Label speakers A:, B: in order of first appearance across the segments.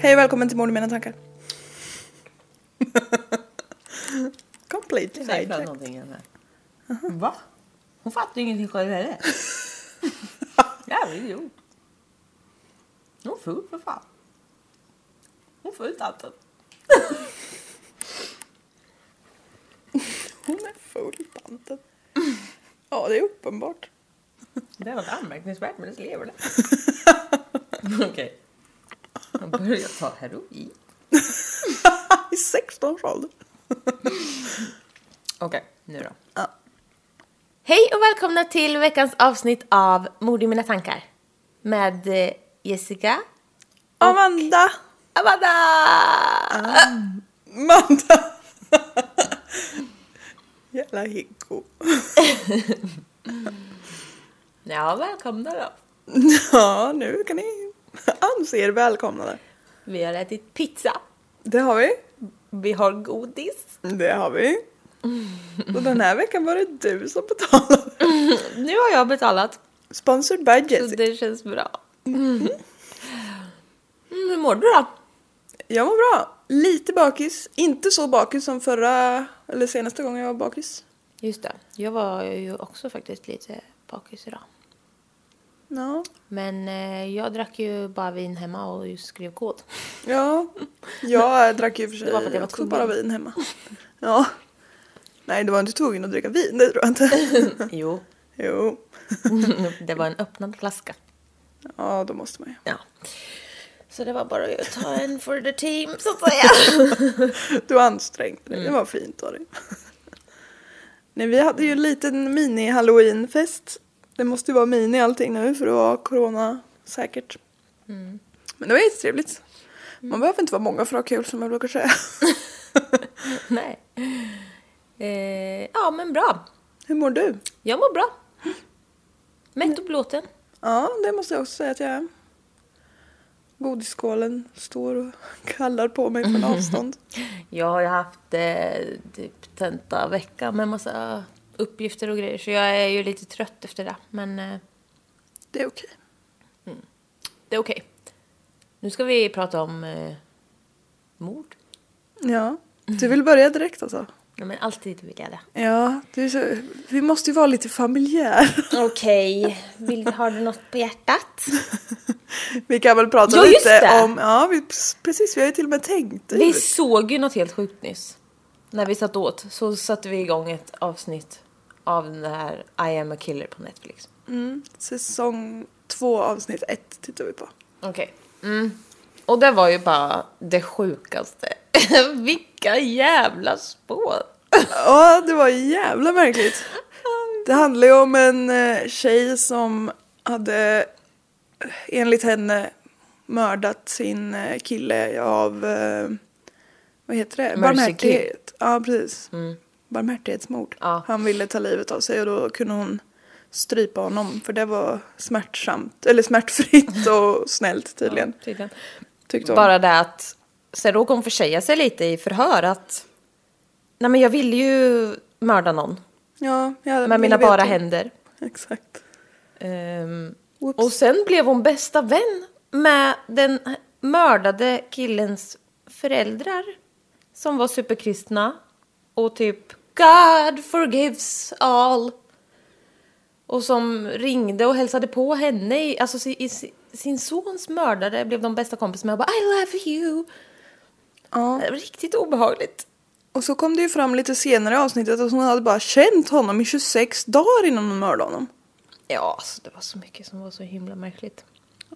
A: Hej och välkommen till Mord i mina tankar. Complete
B: Säg
A: sidetrack.
B: någonting henne. Va? Hon fattar ju ingenting själv heller. Jävla idiot. Hon är full för fan. Hon är full tanten.
A: Hon är full tanten. Ja, det är uppenbart.
B: Det är något anmärkningsvärt med hennes lever där. Okej. Hon börjar ta heroin.
A: I 16 års ålder.
B: Okej, nu då.
C: Hej och välkomna till veckans avsnitt av Mord i mina tankar med eh, Jessica,
A: Amanda! Ah.
C: Amanda!
A: Amanda! Jävla hicko.
C: Ja, välkomna då.
A: Ja, nu kan ni anse er välkomnade.
C: Vi har ätit pizza,
A: Det har vi.
C: vi har godis.
A: Det har vi. Och den här veckan var det du som betalade.
C: Nu har jag betalat,
A: Sponsored by
C: så
A: Jessie.
C: det känns bra. Mm, hur mår du då?
A: Jag mår bra. Lite bakis. Inte så bakis som förra eller senaste gången jag var bakis.
C: Just det, jag var ju också faktiskt lite bakis idag.
A: Ja.
C: Men eh, jag drack ju bara vin hemma och skrev kod.
A: Ja. Jag drack ju i och för sig
C: Det var för att jag var
A: också
C: tvungen.
A: bara vin hemma. Ja. Nej, det var inte tvungen att dricka vin, det tror jag inte.
C: Jo.
A: jo.
C: det var en öppnad flaska.
A: Ja, då måste man ju.
C: Ja. Så det var bara att ta en for the team, så att säga.
A: Du ansträngde dig. Det var fint av dig. Nej, vi hade ju en liten mini-halloweenfest. Det måste ju vara mini allting nu för att vara corona säkert. Men det var jättetrevligt. Man behöver inte vara många för att ha kul som jag brukar säga.
C: Nej. Eh, ja, men bra.
A: Hur mår du?
C: Jag mår bra. Mätt och blåten.
A: Ja, det måste jag också säga att jag är. Godisskålen står och kallar på mig från avstånd.
C: Jag har ju haft eh, typ tentavecka med massa uppgifter och grejer, så jag är ju lite trött efter det. Men eh,
A: Det är okej.
C: det är okej. Nu ska vi prata om eh, mord.
A: Ja. Du vill börja direkt alltså?
C: Nej, men alltid vill jag det.
A: Ja, du är så, vi måste ju vara lite familjär.
C: Okej, okay. har du något på hjärtat?
A: Vi kan väl prata
C: Ja, just
A: lite
C: det!
A: om... Ja, vi, precis. Vi har ju till och med tänkt.
C: Vi såg ju något helt sjukt nyss. När vi satt åt så satte vi igång ett avsnitt av den här I am a killer på Netflix.
A: Mm, säsong två, avsnitt ett tittar vi på.
C: Okej. Mm. Och det var ju bara det sjukaste. Vilka jävla spår!
A: Ja, det var jävla märkligt. Det handlar ju om en eh, tjej som hade eh, enligt henne mördat sin eh, kille av, eh, vad heter det?
C: Mercy Mm.
A: Barmhärtighet. Ja, precis. Barmhärtighetsmord.
C: Ja.
A: Han ville ta livet av sig och då kunde hon strypa honom för det var smärtsamt, eller smärtfritt och snällt tydligen.
C: Tydligen.
A: Tyckte hon.
C: Bara det att, sen råkade hon försäga sig lite i förhör att, nej men jag ville ju mörda någon
A: ja, ja,
C: med mina
A: jag vet
C: bara
A: det.
C: händer.
A: Exakt.
C: Ehm,
A: Whoops.
C: och sen blev hon bästa vän med den mördade killens föräldrar som var superkristna och typ God forgives all. Och som ringde och hälsade på henne, i, alltså si- i si- sin sons mördare blev de bästa kompis med och bara I love you.
A: Ja.
C: Det var Riktigt obehagligt.
A: Och så kom det ju fram lite senare i avsnittet att hon hade bara känt honom i 26 dagar innan hon mördade honom.
C: Ja, alltså, det var så mycket som var så himla märkligt.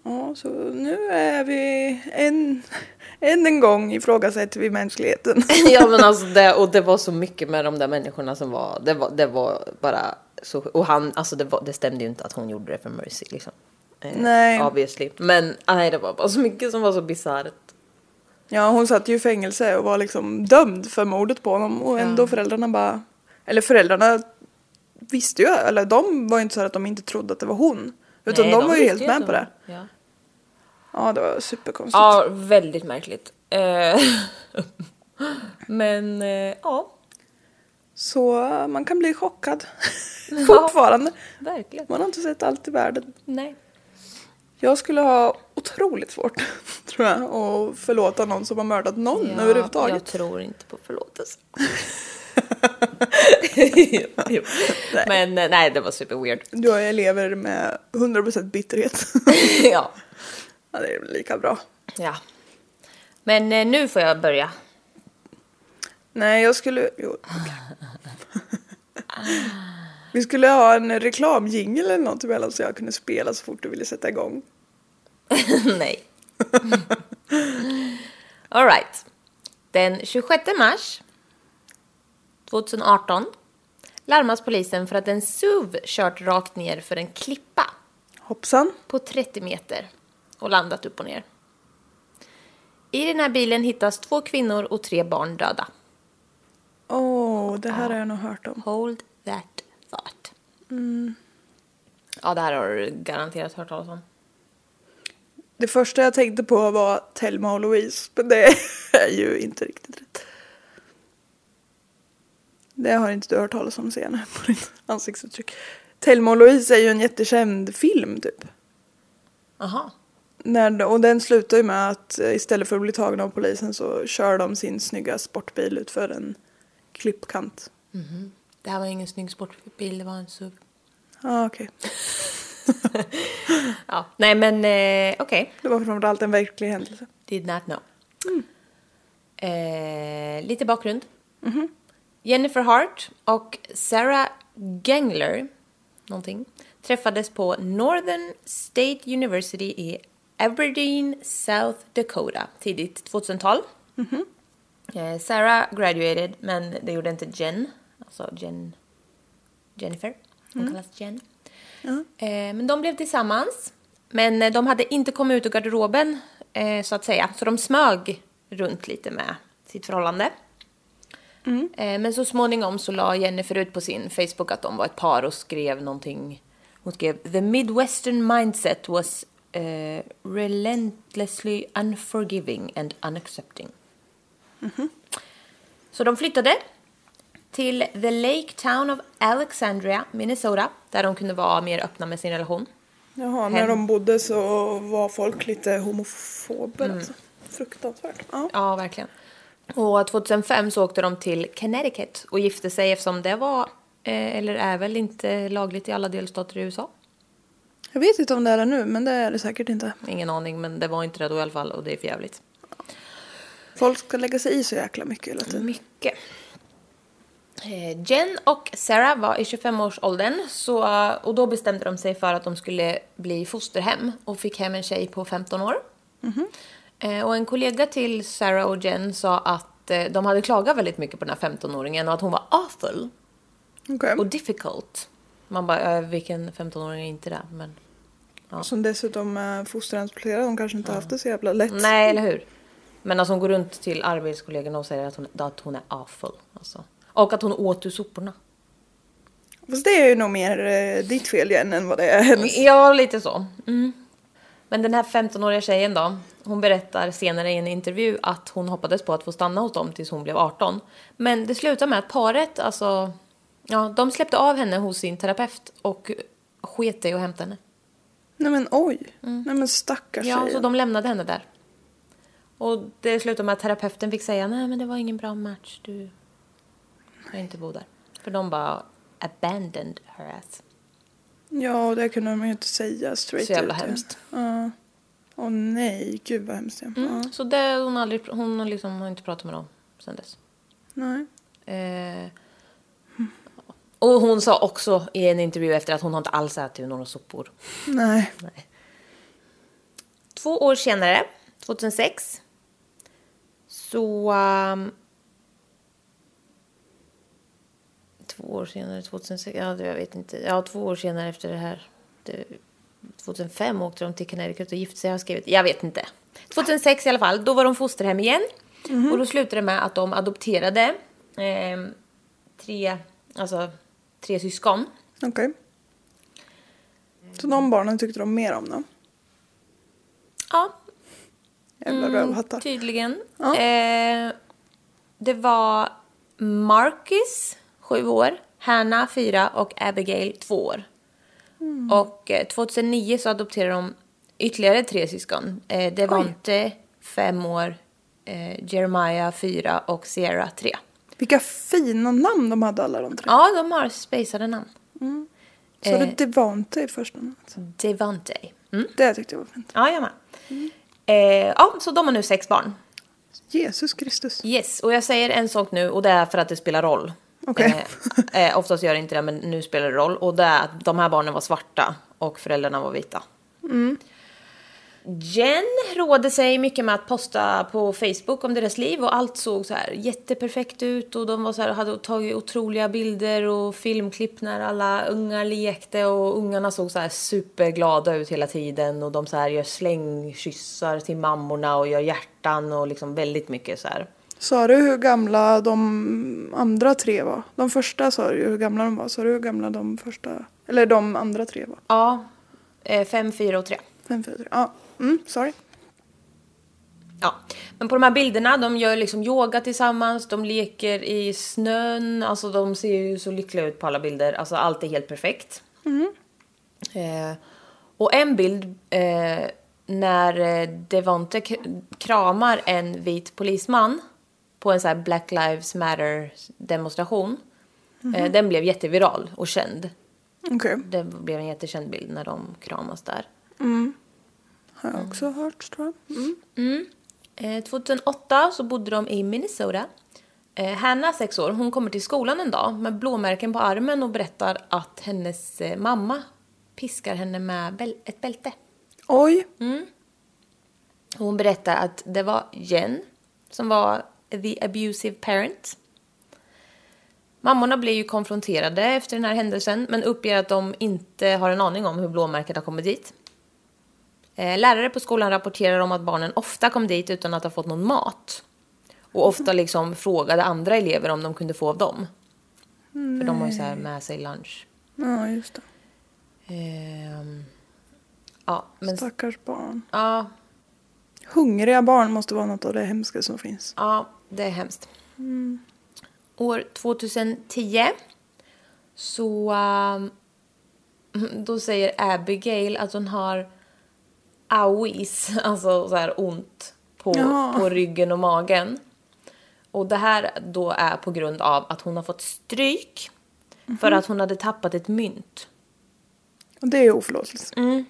A: Ja, så nu är vi en, än en gång ifrågasätter vi mänskligheten.
C: ja men alltså det, och det var så mycket med de där människorna som var, det var, det var bara så, och han, alltså det, var, det stämde ju inte att hon gjorde det för Mercy liksom. Eh,
A: Nej.
C: Obviously. Men nej, det var bara så mycket som var så bisarrt.
A: Ja, hon satt ju i fängelse och var liksom dömd för mordet på honom och ändå föräldrarna bara... Eller föräldrarna visste ju, eller de var ju inte så här att de inte trodde att det var hon. Utan
C: Nej,
A: de, var ju helt
C: visste
A: med
C: att
A: på
C: de-
A: det.
C: Ja.
A: Ja, det var superkonstigt.
C: ja, väldigt märkligt. Eh, men eh, ja,
A: Så eh, man kan bli chockad. Fortfarande.
C: verkligen.
A: Man har inte sett allt i världen.
C: Nej.
A: Jag skulle ha otroligt svårt, tror jag, att förlåta någon som har mördat någon
C: Ja, Jag
A: Mm. överhuvudtaget.
C: tror inte på förlåtelse. Jo. Men eh, nej, det var superweird.
A: Du har ju elever med 100% bitterhet.
C: ja.
A: ja, det är väl lika bra.
C: Ja. Men eh, nu får jag börja.
A: Nej, jag skulle... Jo, okej. Vi skulle ha en reklamjingel eller något emellan så jag kunde spela så fort du ville sätta igång.
C: Nej. All right. Den 26 mars 2018 larmas polisen för att en SUV kört rakt ner för en klippa
A: Hoppsan.
C: på 30 meter och landat upp och ner. I den här bilen hittas två kvinnor och tre barn döda.
A: Åh, det här har jag nog hört om.
C: Hold that thought. Mm. Ja, det här har du garanterat hört talas om.
A: Det första jag tänkte på var Thelma och Louise, men det är ju inte riktigt rätt. Det har inte du hört talas om senare på ditt ansiktsuttryck. Thelma och Louise är ju en jättekänd film typ.
C: Aha.
A: När, och den slutar ju med att eh, istället för att bli tagna av polisen så kör de sin snygga sportbil ut för en klippkant.
C: Det här var ingen snygg sportbil, det var en SUV.
A: Ah, okej.
C: Ja, nej men eh, okej. Mm.
A: Det var framförallt en verklig händelse.
C: Did not know. Eh, lite bakgrund. Mhm. Jennifer Hart och Sarah Gangler, någonting, träffades på Northern State University i Aberdeen, South Dakota, tidigt 2000-tal. Eh, Sarah graduated, men det gjorde inte Jen. Alltså Jen... Jennifer. Hon kallas Jen. Eh, men de blev tillsammans. Men eh, de hade inte kommit ut ur garderoben, eh, så att säga. Så de smög runt lite med sitt förhållande. Eh, men så småningom så la Jennifer ut på sin Facebook att de var ett par och skrev någonting. Hon skrev “The Midwestern mindset was eh, relentlessly unforgiving and unaccepting”. Så de flyttade till the lake town of Alexandria, Minnesota, där de kunde vara mer öppna med sin relation.
A: Jaha, när de bodde så var folk lite homofober alltså. Fruktansvärt. Ja.
C: Ja, verkligen. Och 2005 så åkte de till Connecticut och gifte sig eftersom det var, eh, eller är väl inte lagligt i alla delstater i USA.
A: Jag vet inte om det är det nu, men det är det säkert inte.
C: Ingen aning, men det var inte det då i alla fall och det är för jävligt.
A: Folk ska lägga sig i så jäkla mycket hela tiden.
C: Mycket. Eh, Jen och Sarah var i 25-årsåldern så, eh, och då bestämde de sig för att de skulle bli fosterhem och fick hem en tjej på 15 år. Eh, Och en kollega till Sarah och Jen sa att eh, de hade klagat väldigt mycket på den här 15-åringen och att hon var awful
A: Okej.
C: Mm. och difficult. Man bara, eh, vilken 15-åring är inte det? Men...
A: Som dessutom är fosterhandsplacerad. Hon kanske inte har haft det så jävla lätt.
C: Nej, eller hur? Men alltså hon går runt till arbetskollegorna och säger att hon, att hon är awful. Alltså. Och att hon åt ur soporna.
A: Fast det är ju nog mer eh, ditt fel igen än vad det är hennes.
C: Ja, lite så. Mm. Men den här 15-åriga tjejen då, hon berättar senare i en intervju att hon hoppades på att få stanna hos dem tills hon blev 18. Men det slutar med att paret, alltså, ja, de släppte av henne hos sin terapeut och sket i att hämta henne.
A: Nej men oj. Mm. Nej men stackars
C: Mm. Ja,
A: tjejen.
C: så de lämnade henne där. Och det slutade med att terapeuten fick säga nej men det var ingen bra match, du ska inte bo där. För de bara abandoned her ass.
A: Ja, och det kunde de ju inte säga straight
C: Så jävla
A: ut.
C: hemskt.
A: Ja. Åh nej, gud vad hemskt. Mm. Ja.
C: Så det, hon, har aldrig, hon har liksom, har inte pratat med dem sen dess.
A: Nej.
C: Eh, och hon sa också i en intervju efter att hon har inte alls ätit några sopor.
A: Nej.
C: Två år senare, 2006, så... ehm, två år senare, 2006, ja det- jag vet inte. Ja, två år senare efter det här. Det, 2005 åkte de till Connecticut och gifte sig har jag skrivit. Jag vet inte. 2006 i alla fall, då var de fosterhem igen. Och då slutade det med att de adopterade ehm, tre, alltså, tre syskon.
A: Okej. Så de barnen tyckte de mer om då?
C: Ja,
A: Jävla
C: Mm,
A: rövhattar.
C: typ. Tydligen.
A: Ja.
C: Eh, det var Marcus, sju år, Hanna, fyra och Abigail, två år.
A: Mm.
C: Och eh, 2009 så adopterade de ytterligare tre syskon. Eh, Devante, fem år, eh, Jeremiah, fyra och Sierra, tre.
A: Vilka fina namn de hade alla de tre.
C: Ja, de har spejsade namn.
A: Så det Devante i första namnet.
C: Devante. Eh. Mm.
A: Det tyckte jag var fint.
C: Ja, jag med.
A: Mm.
C: Eh, ja, så de har nu sex barn.
A: Jesus Kristus.
C: Yes, och jag säger en sak nu och det är för att det spelar roll.
A: Okej.
C: Eh, eh, oftast gör det inte det, men nu spelar det roll. Och det är att de här barnen var svarta och föräldrarna var vita. Jen rådde sig mycket med att posta på Facebook om deras liv och allt såg så här jätteperfekt ut och de var så här, hade tagit otroliga bilder och filmklipp när alla ungar lekte och ungarna såg så här superglada ut hela tiden och de så här gör slängkyssar till mammorna och gör hjärtan och liksom väldigt mycket så här.
A: Sa du hur gamla de andra tre var? De första sa du ju hur gamla de var. Sa du hur gamla de första, eller de andra tre var?
C: Ja, eh, fem, fyra och tre.
A: Fem, fyra, tre. Ja. Mm, sorry.
C: Ja, men på de här bilderna, de gör liksom yoga tillsammans, de leker i snön, alltså de ser ju så lyckliga ut på alla bilder, alltså allt är helt perfekt. Eh, och en bild eh, när eh, Devonte k- kramar en vit polisman på en så här Black Lives Matter demonstration, eh, den blev jätteviral och känd.
A: Okej,
C: Det blev en jättekänd bild när de kramas där.
A: har jag också hört tror jag. Mm.
C: Eh, 2008 så bodde de i Minnesota. Eh, Hanna, sex år, hon kommer till skolan en dag med blåmärken på armen och berättar att hennes eh, mamma piskar henne med bäl- ett bälte.
A: Oj,
C: Mm. Hon berättar att det var Jen som var the abusive parent. Mammorna blir ju konfronterade efter den här händelsen men uppger att de inte har en aning om hur blåmärket har kommit dit. Eh, Lärare på skolan rapporterar om att barnen ofta kom dit utan att ha fått någon mat. Och ofta liksom frågade andra elever om de kunde få av dem. För de har ju så här med sig lunch.
A: ja just det.
C: Ehm, ja, men...
A: Stackars barn.
C: Ja,
A: Hungriga barn måste vara något av det hemska som finns.
C: Ja, det är hemskt. År 2010 så ehm, då säger Abigail att hon har awis, alltså så här ont på,
A: Jaha.
C: på ryggen och magen. Och det här då är på grund av att hon har fått stryk för att hon hade tappat ett mynt.
A: Och det är ju oförlåtligt.
C: Mm.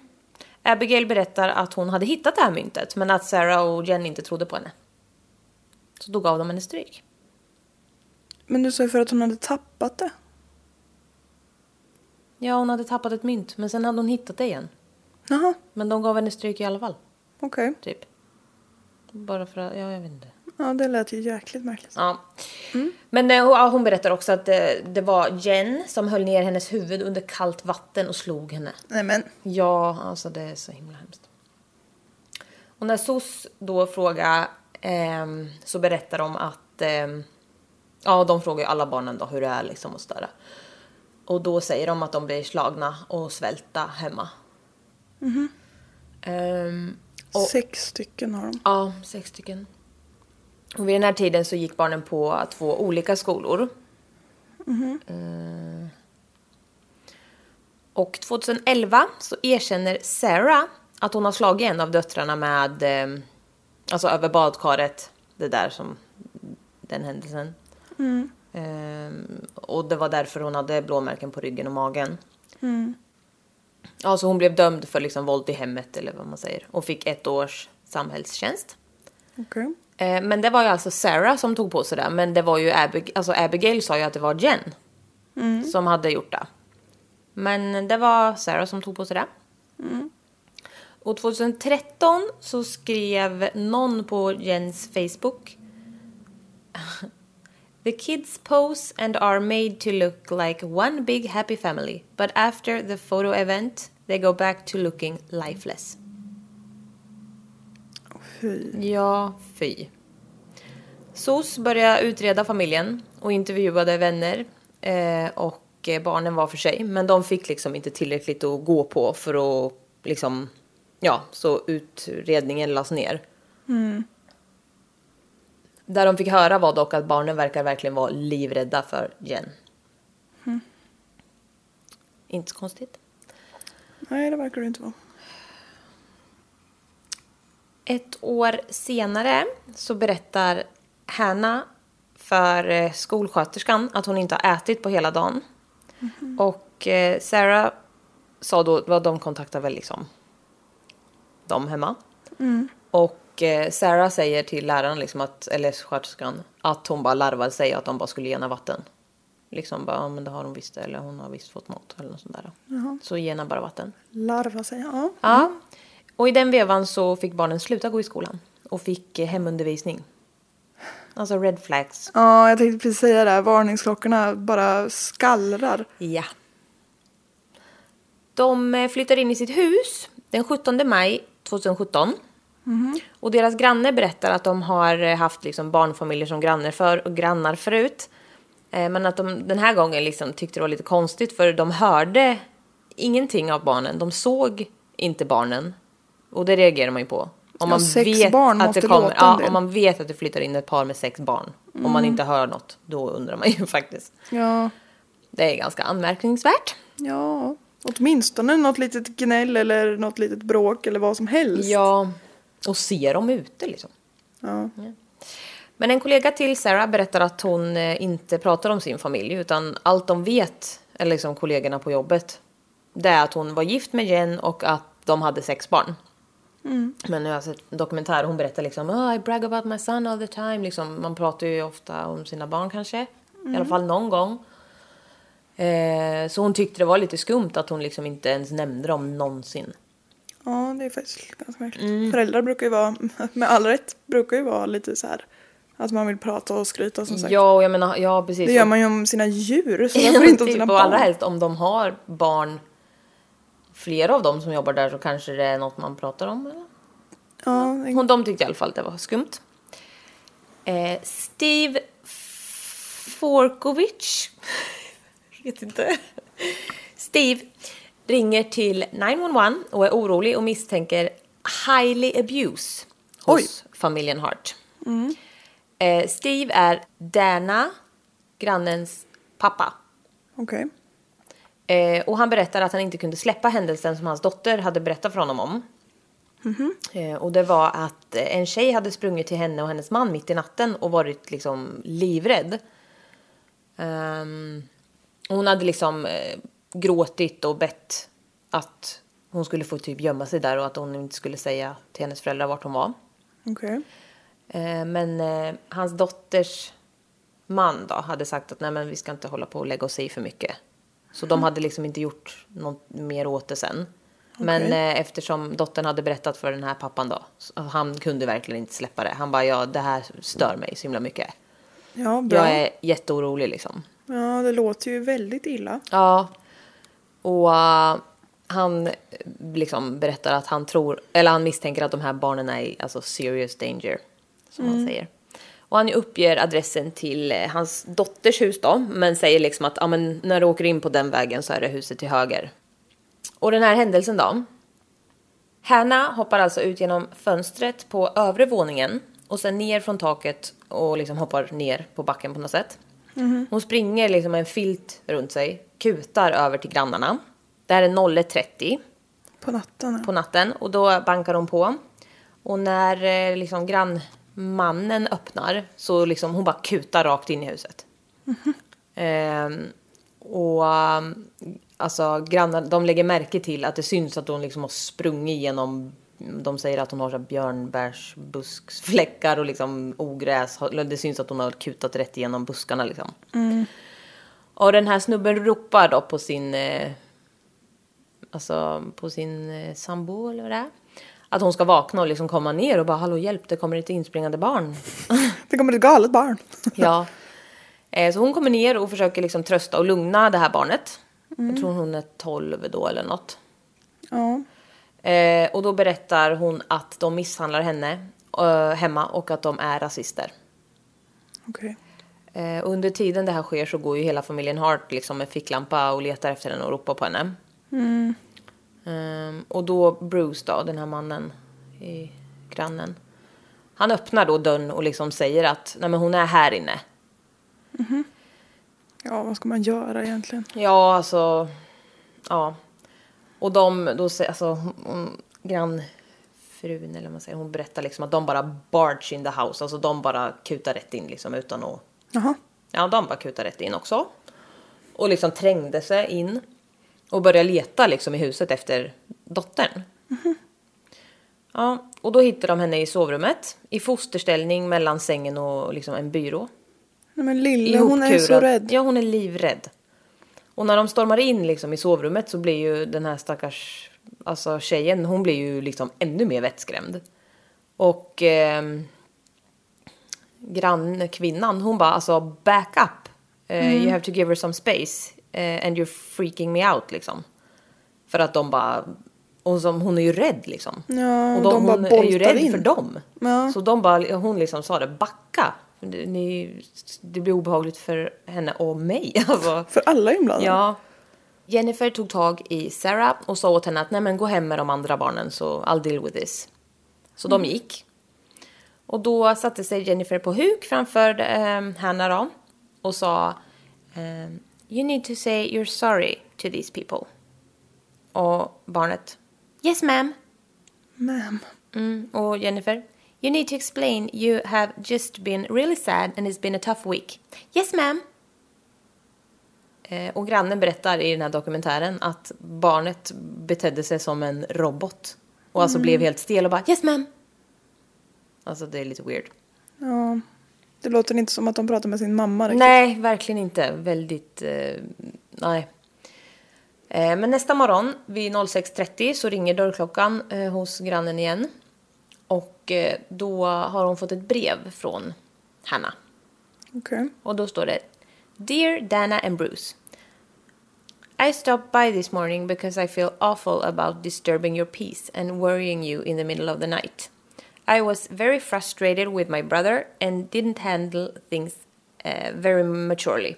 C: Abigail berättar att hon hade hittat det här myntet men att Sarah och Jen inte trodde på henne. Så då gav de henne stryk.
A: Men du sa ju för att hon hade tappat det.
C: Ja, hon hade tappat ett mynt, men sen hade hon hittat det igen.
A: Jaha,
C: Men de gav henne stryk i alla fall,
A: okej.
C: typ. Bara för att, ja jag vet inte.
A: Ja, det lät ju jäkligt märkligt.
C: Ja. Men eh, hon- ja, hon berättar också att det, det var Jen som höll ner hennes huvud under kallt vatten och slog henne.
A: Nej men,
C: Ja, alltså det är så himla hemskt. Och när SOS då frågar ehm, så berättar de att ehm, ja, de frågar ju alla barnen då hur det är liksom och sådär. Och då säger de att de blir slagna och svälta hemma. Ehm, och,
A: sex stycken har de.
C: Ja, sex stycken. Och vid den här tiden så gick barnen på två olika skolor. Eh, Och 2011 så erkänner Sarah att hon har slagit en av döttrarna med, eh, alltså över badkaret, det där som, den händelsen. Eh, och det var därför hon hade blåmärken på ryggen och magen. Alltså hon blev dömd för liksom våld i hemmet eller vad man säger och fick ett års samhällstjänst.
A: Okej.
C: Eh, Men det var ju alltså Sarah som tog på sig det. Men det var ju Abig- alltså Abigail sa ju att det var Jen som hade gjort det. Men det var Sarah som tog på sig det. Och 2013 så skrev någon på Jens Facebook. The kids pose and are made to look like one big happy family. But after the photo event they go back to looking lifeless.
A: Fy.
C: Ja, fy. SOS började utreda familjen och intervjuade vänner eh, och eh, barnen var för sig. Men de fick liksom inte tillräckligt att gå på för att liksom, ja, så utredningen lades ner. Där de fick höra var dock att barnen verkar verkligen vara livrädda för Jen. Inte så konstigt.
A: Nej, det verkar det inte vara.
C: Ett år senare så berättar Hanna för eh, skolsköterskan att hon inte har ätit på hela dagen. Och eh, Sarah sa då, vad de kontaktar väl liksom dem hemma. Och eh, Sarah säger till läraren, liksom att, eller sköterskan, att hon bara larvade sig och att de bara skulle ge henne vatten. Liksom bara, ja men det har hon visst, eller hon har visst fått mat eller något sånt där. Så ge henne bara vatten.
A: Larva sig, ja.
C: Ja. Mm. Och i den vevan så fick barnen sluta gå i skolan och fick eh, hemundervisning. Alltså red flags.
A: Ja, jag tänkte precis säga det. här. Varningsklockorna bara skallrar.
C: Ja. De eh, flyttar in i sitt hus den 17 maj 2017.
A: Mhm.
C: Och deras granne berättar att de har eh, haft liksom barnfamiljer som grannar, för, och grannar förut. Eh, Men att de den här gången liksom tyckte det var lite konstigt för de hörde ingenting av barnen. De såg inte barnen. Och det reagerar man ju på. Om
A: Ja,
C: man,
A: sex
C: vet
A: barn
C: att
A: måste
C: det kommer,
A: låta en
C: ja,
A: del. Mm.
C: om man vet att det flyttar in ett par med sex barn. Om man inte hör något, då undrar man ju faktiskt.
A: Ja,
C: Det är ganska anmärkningsvärt.
A: ja. Åtminstone något litet gnäll eller något litet bråk eller vad som helst.
C: Ja, och ser dem ute liksom.
A: Ja.
C: Men en kollega till Sarah berättar att hon eh, inte pratar om sin familj utan allt de vet, eller liksom kollegorna på jobbet, det är att hon var gift med Jen och att de hade sex barn.
A: Mm.
C: Men nu har jag sett en dokumentär och hon berättar liksom oh, I brag about my son all the time. Liksom, man pratar ju ofta om sina barn kanske. I
A: Mm.
C: alla fall någon gång. Eh, så hon tyckte det var lite skumt att hon liksom inte ens nämnde dem någonsin.
A: ja, det är faktiskt ganska märkligt. Föräldrar brukar ju vara, med all rätt, brukar ju vara lite så här att man vill prata och skryta som sagt.
C: Ja, och jag menar, ja precis.
A: Det gör man ju om sina djur, så varför
C: Ja,
A: inte om
C: typ,
A: sina
C: och allra
A: barn?
C: helst om de har barn, flera av dem som jobbar där så kanske det är något man pratar om. Eller?
A: Ja, det-
C: Hon, de tyckte i alla fall att det var skumt. Eh, Steve Forkovic, jag vet inte. Steve ringer till 911 och är orolig och misstänker highly abuse hos familjen Hart.
A: Mm.
C: Eh, Steve är Dana, grannens pappa.
A: okej.
C: Eh, och han berättar att han inte kunde släppa händelsen som hans dotter hade berättat för honom om. Eh, och det var att eh, en tjej hade sprungit till henne och hennes man mitt i natten och varit liksom livrädd. Ehm, och hon hade liksom eh, gråtit och bett att hon skulle få typ gömma sig där och att hon inte skulle säga till hennes föräldrar vart hon var.
A: Okej.
C: Eh, Men eh, hans dotters man då hade sagt att nej men vi ska inte hålla på och lägga oss i för mycket. Så de hade liksom inte gjort något mer åt det sen. Men eh, eftersom dottern hade berättat för den här pappan då, så han kunde verkligen inte släppa det. Han bara, ja det här stör mig så himla mycket.
A: Ja, bra.
C: Jag är jätteorolig liksom.
A: Ja, det låter ju väldigt illa.
C: Ja. Och eh, han eh, liksom berättar att han tror, eller han misstänker att de här barnen är i alltså, serious danger. Som han säger. Och han uppger adressen till eh, hans dotters hus då. Men säger liksom att ja, men när du åker in på den vägen så är det huset till höger. Och den här händelsen då? Hanna hoppar alltså ut genom fönstret på övre våningen och sen ner från taket och liksom hoppar ner på backen på något sätt. Hon springer liksom med en filt runt sig, kutar över till grannarna. Det här är 01.30
A: På natten. ja.
C: på natten och då bankar hon på. Och när eh, liksom grannmannen öppnar så liksom hon bara kutar rakt in i huset. Ehm, och um, alltså grannar, de lägger märke till att det syns att hon liksom har sprungit genom de säger att hon har så här björnbärsbuskfläckar och liksom ogräs. Eller Det syns att hon har kutat rätt igenom buskarna liksom. Och den här snubben ropar då på sin eh, alltså på sin eh, sambo eller vad det är. Att hon ska vakna och liksom komma ner och bara hallå hjälp det kommer ett inspringande barn.
A: Det kommer ett galet barn.
C: ja. Eh, Så hon kommer ner och försöker liksom trösta och lugna det här barnet. Jag tror hon är 12 då eller något.
A: Ja.
C: Eh, Och då berättar hon att de misshandlar henne eh, hemma och att de är rasister.
A: Okej.
C: Eh, Under tiden det här sker så går ju hela familjen Hart liksom med ficklampa och letar efter henne och ropar på henne. Ehm, och då Bruce då, den här mannen, i grannen. Han öppnar då dörren och liksom säger att nej men hon är här inne.
A: Ja, vad ska man göra egentligen?
C: Ja, alltså. Ja. Och de, då säger, alltså hon- hon, grannfrun eller vad man säger, hon berättar liksom att de bara barge in the house. Alltså de bara kutar rätt in liksom utan att
A: Jaha.
C: Ja, de bara kutade rätt in också. Och liksom trängde sig in. Och började leta liksom i huset efter dottern. Ja, och då hittade de henne i sovrummet. I fosterställning mellan sängen och liksom en byrå.
A: Nej men lille, hon är så
C: Ihopkurad.
A: rädd.
C: Ja, hon är livrädd. Och när de stormar in liksom i sovrummet så blir ju den här stackars alltså tjejen, hon blir ju liksom ännu mer vettskrämd. Och ehm, grannkvinnan, hon bara alltså back up. Eh,
A: Mm.
C: You have to give her some space eh, and you're freaking me out liksom. För att de bara, och som, hon är ju rädd liksom.
A: Ja,
C: och
A: de bara
C: hon är ju
A: boltar
C: rädd
A: in.
C: för dem.
A: Ja.
C: Så de bara, hon liksom sa det, backa. Det, ni, det blir obehagligt för henne och mig. Alltså.
A: För alla inblandade.
C: Ja. Jennifer tog tag i Sarah och sa åt henne att nej men gå hem med de andra barnen så I'll deal with this. Så de gick. Och då satte sig Jennifer på huk framför eh, Hannah då och sa ehm, You need to say you're sorry to these people. Och barnet Yes ma'am.
A: Ma'am.
C: Mm, och Jennifer You need to explain you have just been really sad and it's been a tough week. Yes ma'am. Eh, Och grannen berättar i den här dokumentären att barnet betedde sig som en robot. Och alltså blev helt stel och bara yes ma'am. Alltså det är lite weird.
A: Ja. Det låter inte som att de pratar med sin mamma riktigt.
C: Nej, verkligen inte. Väldigt... Eh, nej. Eh, men nästa morgon vid 06.30 så ringer dörrklockan eh, hos grannen igen. Och eh, då har hon fått ett brev från Hanna.
A: Okej.
C: Och då står det Dear Dana and Bruce. I stopped by this morning because I feel awful about disturbing your peace and worrying you in the middle of the night. I was very frustrated with my brother and didn't handle things uh, very maturely.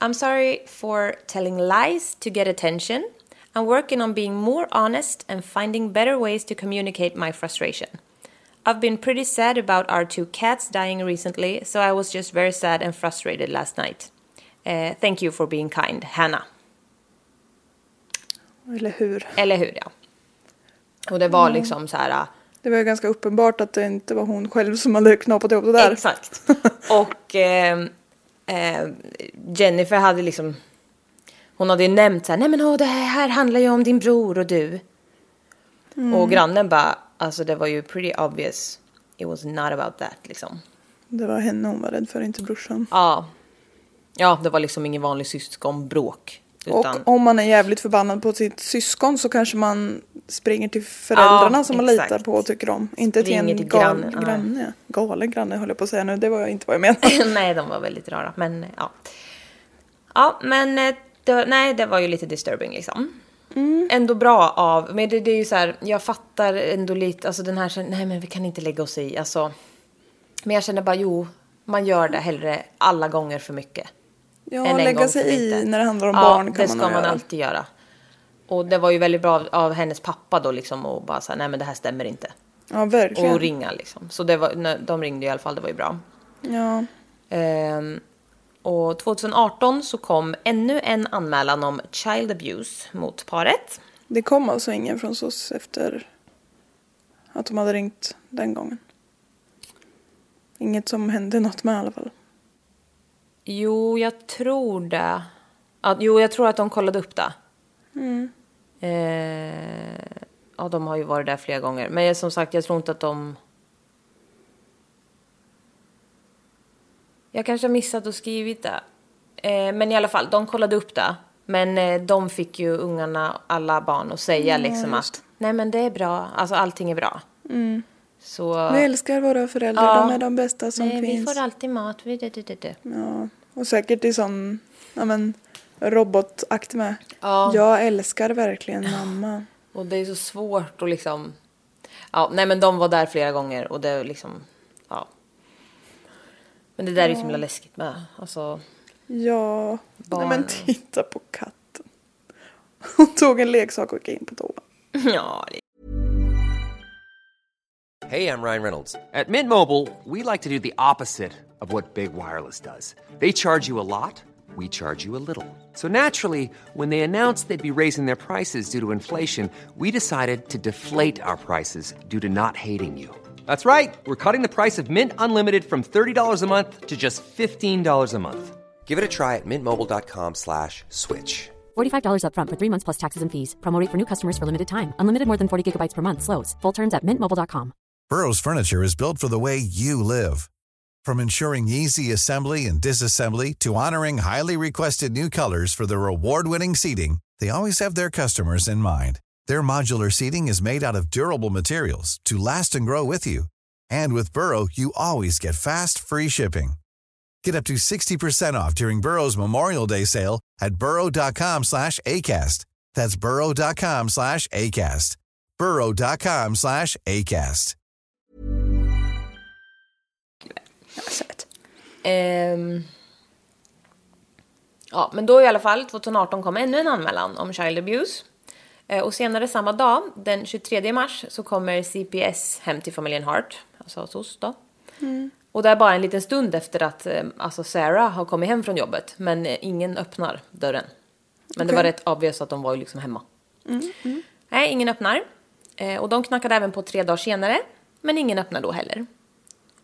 C: I'm sorry for telling lies to get attention. I'm working on being more honest and finding better ways to communicate my frustration. I've been pretty sad about our two cats dying recently, so I was just very sad and frustrated last night. Eh, thank you for being kind, Hannah.
A: Eller hur?
C: Eller hur, ja. Och det var liksom så här...
A: Det var ju ganska uppenbart att det inte var hon själv som hade knapat ihop det där.
C: Exakt. Och eh, eh, Jennifer hade liksom... Hon hade ju nämnt så här, nej men åh, det här handlar ju om din bror och du.
A: Mm.
C: Och grannen bara, alltså det var ju pretty obvious. It was not about that liksom.
A: Det var henne hon var rädd för, inte brorsan.
C: Ja. Ja, det var liksom ingen vanlig syskonbråk.
A: Och
B: Utan,
A: om man är jävligt förbannad på sitt syskon så kanske man springer till föräldrarna
C: Ja,
A: som man
C: exakt.
A: litar på och tycker om. Inte till
C: Springer
A: en
C: till
A: gal,
C: grannen, ja.
A: granne. Galen granne höll jag på att säga nu, det var jag inte vad jag menade.
C: nej, de var väldigt rara. Men eh, ja. Ja, men eh, det, nej, det var ju lite disturbing liksom.
A: Mm.
C: Ändå bra av, men det, det är ju så här, jag fattar ändå lite, alltså den här känner, nej men vi kan inte lägga oss i, alltså. Men jag känner bara, jo, man gör det hellre alla gånger för mycket.
A: Ja,
C: än en
A: lägga
C: gång
A: sig
C: för
A: i
C: lite.
A: när det handlar om
C: ja,
A: barn kan
C: det
A: man
C: ska
A: nog
C: man
A: göra.
C: alltid göra. Och det var ju väldigt bra av, av hennes pappa då liksom och bara säga nej men det här stämmer inte.
A: Ja, verkligen.
C: Och ringa liksom. Så det var, när de ringde i alla fall, det var ju bra.
A: ja.
C: Ehm, och 2018 så kom ännu en anmälan om child abuse mot paret.
A: Det kom alltså ingen från SOS efter att de hade ringt den gången. Inget som hände något med i alla fall.
C: Jo, jag tror det. Ja, jo, jag tror att de kollade upp det.
A: Mm.
C: Eh, ja, de har ju varit där flera gånger. Men jag- som sagt, jag tror inte att de... Jag kanske har missat och skrivit det. Eh, men i alla fall, de kollade upp det. Men eh, de fick ju ungarna, alla barn, att säga
A: Mm,
C: liksom att nej men det är bra, alltså allting är bra.
A: Mm.
C: Så...
A: Vi älskar våra föräldrar,
C: Ja.
A: de är de bästa som
C: "Nej, vi
A: finns. Mm.
C: får alltid mat, vi det, det, det, det.
A: Ja, och säkert i sån ja, men, robotakt med.
C: Ja.
A: Jag älskar verkligen mamma.
C: Och det är så svårt att liksom... Ja, nej men de var där flera gånger och det är liksom... Ja. Men det där är ju så himla läskigt med. Alltså,
A: Ja, Nej, men
C: Barnen.
A: titta på katten. Hon tog en leksak och gick in på toa.
C: ja, det
D: Hey, I'm Ryan Reynolds. At Mint Mobile, we like to do the opposite of what Big Wireless does. They charge you a lot, we charge you a little. So naturally, when they announced they'd be raising their prices due to inflation, we decided to deflate our prices due to not hating you. That's right. We're cutting the price of Mint Unlimited from $30 a month to just $15 a month. Give it a try at mintmobile.com slash switch.
E: $45 upfront for three months plus taxes and fees. Promo rate for new customers for limited time. Unlimited more than 40 gigabytes per month. Slows. Full terms at mintmobile.com.
F: Burrow's furniture is built for the way you live. From ensuring easy assembly and disassembly to honoring highly requested new colors for their award-winning seating, they always have their customers in mind. Their modular seating is made out of durable materials to last and grow with you. And with Burrow, you always get fast, free shipping. Get up to 60% off during Burrow's Memorial Day sale at burrow.com slash ACAST. That's burrow.com slash ACAST. burrow.com slash ACAST.
A: Söt.
C: Ehm. Ja, men då i alla fall, 2018 kom ännu en anmälan om child abuse. Eh, Och senare samma dag, den 23 mars, så kommer CPS hem till familjen Hart, alltså SOS då. Och det är bara en liten stund efter att eh, alltså Sarah har kommit hem från jobbet, men eh, ingen öppnar dörren. Men det var rätt obvious att de var ju liksom hemma. Nej, ingen öppnar. Eh, Och de knackade även på tre dagar senare, men ingen öppnar då heller.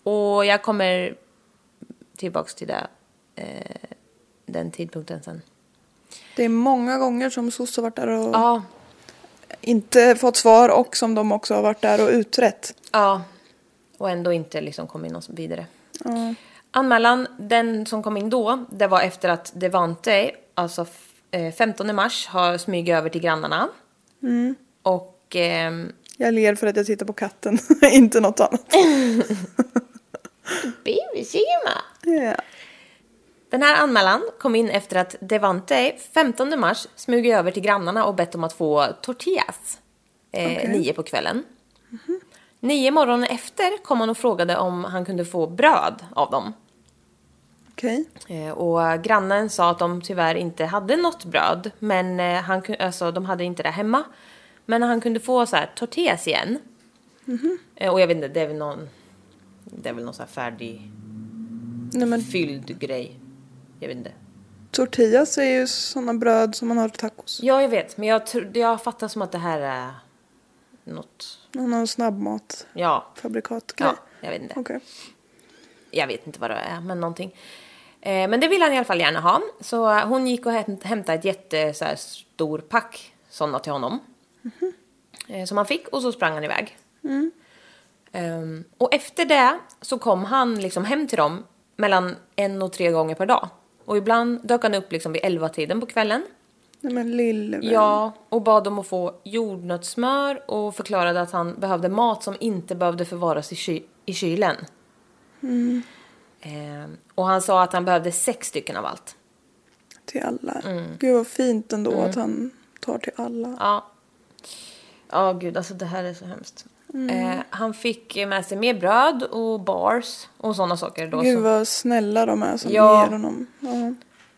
C: Och jag kommer tillbaks till det, eh, den tidpunkten sen.
A: Det är många gånger som SOS har varit där och
C: Ja,
A: inte fått svar och som de också har varit där och utrett.
C: ja. Och ändå inte liksom kom in någon vidare. Anmälan, den som kom in då, det var efter att Devante, alltså f- eh, 15 mars, har smugit över till grannarna. Och ehm,
A: Jag ler för att jag tittar på katten, inte något annat.
C: Baby Sigma.
A: Ja.
C: Den här anmälan kom in efter att Devante 15 mars smugit över till grannarna och bett om att få tortillas. Eh, Nio på kvällen.
A: Mhm.
C: Nio morgonen efter kom han och frågade om han kunde få bröd av dem.
A: Okej.
C: Eh, och grannen sa att de tyvärr inte hade något bröd. Men eh, han, kun- alltså, de hade inte det hemma. Men han kunde få så här tortillas igen. Eh, och jag vet inte, det är väl någon... Det är väl någon så här färdig,
A: Nej men
C: fylld grej. Jag vet inte.
A: tortillas är ju sådana bröd som man har till tacos.
C: Ja, jag vet. Men jag, tro- jag fattar som att det här är något...
A: Någon har snabbmat.
C: Ja,
A: Fabrikat
C: ja jag vet inte.
A: Okej.
C: Jag vet inte vad det är, men någonting. Eh, men det ville han i alla fall gärna ha. Så eh, hon gick och häm- hämtade ett jätte, så här, stor pack sådana till honom. Eh, som han fick och så sprang han iväg. Ehm, och efter det så kom han liksom hem till dem
A: Mm.
C: mellan en och tre gånger per dag. Och ibland dök han upp liksom vid elva tiden på kvällen.
A: Nej men lille vän.
B: Ja, och bad om att få jordnötssmör och förklarade att han behövde mat som inte behövde förvaras i, ky- i kylen.
A: Mm.
B: Eh, och han sa att han behövde sex stycken av allt.
A: Till alla.
B: Mm.
A: Gud vad fint ändå att han tar till alla.
B: Ja. Ja, gud, alltså det här är så hemskt.
A: Mm.
B: Eh, han fick med sig mer bröd och bars och sådana saker då.
A: Gud
B: som-
A: vad snälla de är som
B: alltså. Ja.
A: ger honom. Ja.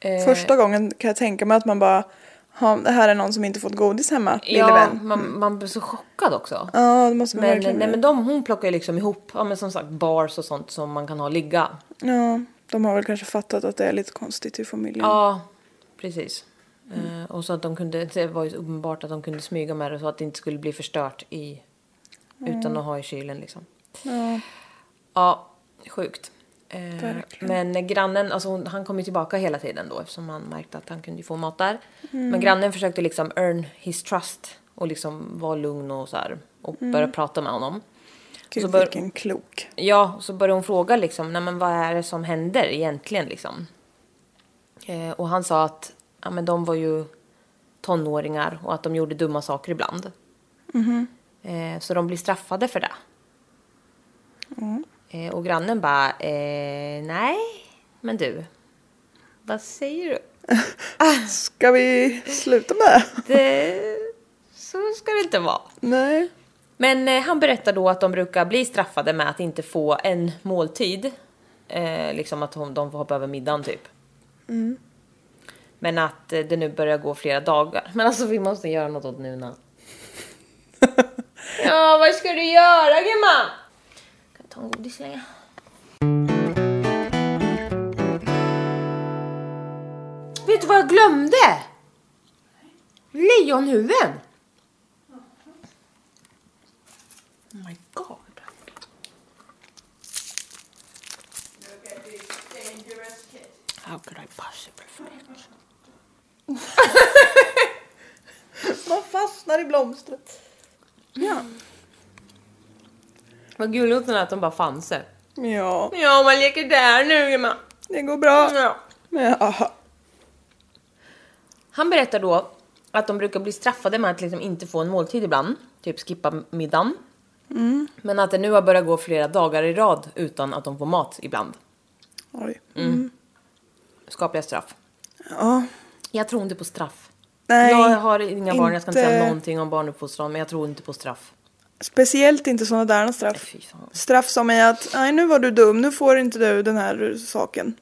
B: Eh.
A: Första gången kan jag tänka mig att man bara, "Ha, det här är någon som inte fått godis hemma, lille
B: ja,
A: vän.
B: man, man blir så chockad också.
A: Ja, det måste man
B: Men,
A: verkligen
B: nej,
A: bli.
B: men de, hon plockar ju liksom ihop, ja men som sagt bars och sånt som man kan ha
A: Mm.
B: ligga.
A: Ja, de har väl kanske fattat att det är lite konstigt i familjen.
B: Ja, precis. Eh, och så att de kunde, det var ju uppenbart att de kunde smyga med det så att det inte skulle bli förstört i, utan att ha i kylen liksom.
A: Mm. Ja.
B: Ja, sjukt. Eh,
A: Verkligen.
B: men grannen, alltså hon, han kom ju tillbaka hela tiden då eftersom han märkte att han kunde ju få mat där.
A: Mm.
B: Men grannen försökte liksom earn his trust och liksom vara lugn och så här och börja
A: Mm.
B: prata med honom.
A: Gud
B: så bör-
A: vilken klok.
B: Ja, och så började hon fråga liksom, nej men vad är det som händer egentligen liksom? Eh, och han sa att, ja men de var ju tonåringar och att de gjorde dumma saker ibland. Eh, så de blir straffade för det. Eh, och grannen bara, eh, nej, men du, vad säger du?
A: Ska vi sluta med det?
B: Det, så ska det inte vara.
A: Nej.
B: Men eh, han berättar då att de brukar bli straffade med att inte få en måltid. Eh, liksom att hon, de får hoppa över middagen typ. Men att eh, det nu börjar gå flera dagar. Men alltså vi måste göra något åt Nuna. ja, vad ska du göra gumman? Kan jag ta en godis länge? Vet du vad jag glömde? Lejonhuvuden! Oh my god. How could I possibly forget?
A: Man fastnar i blomstret. Ja.
B: Vad gulligt att den är att de bara fanns det.
A: Ja,
B: Ja, man leker där nu gumman.
A: det går bra.
B: Ja.
A: Men, aha.
B: Han berättar då att de brukar bli straffade med att liksom inte få en måltid ibland. Typ skippa middagen. Men att det nu har börjat gå flera dagar i rad utan att de får mat ibland.
A: Oj.
B: Mm.
A: Mm.
B: Skapliga straff.
A: Ja.
B: Jag tror inte på straff.
A: Nej,
B: jag har inga barn, jag ska inte säga
A: inte-
B: någonting om barnuppfostran, men jag tror inte på straff.
A: Speciellt inte sådana där straff.
B: Fy fan.
A: Straff som är att, nej nu var du dum, nu får inte du den här saken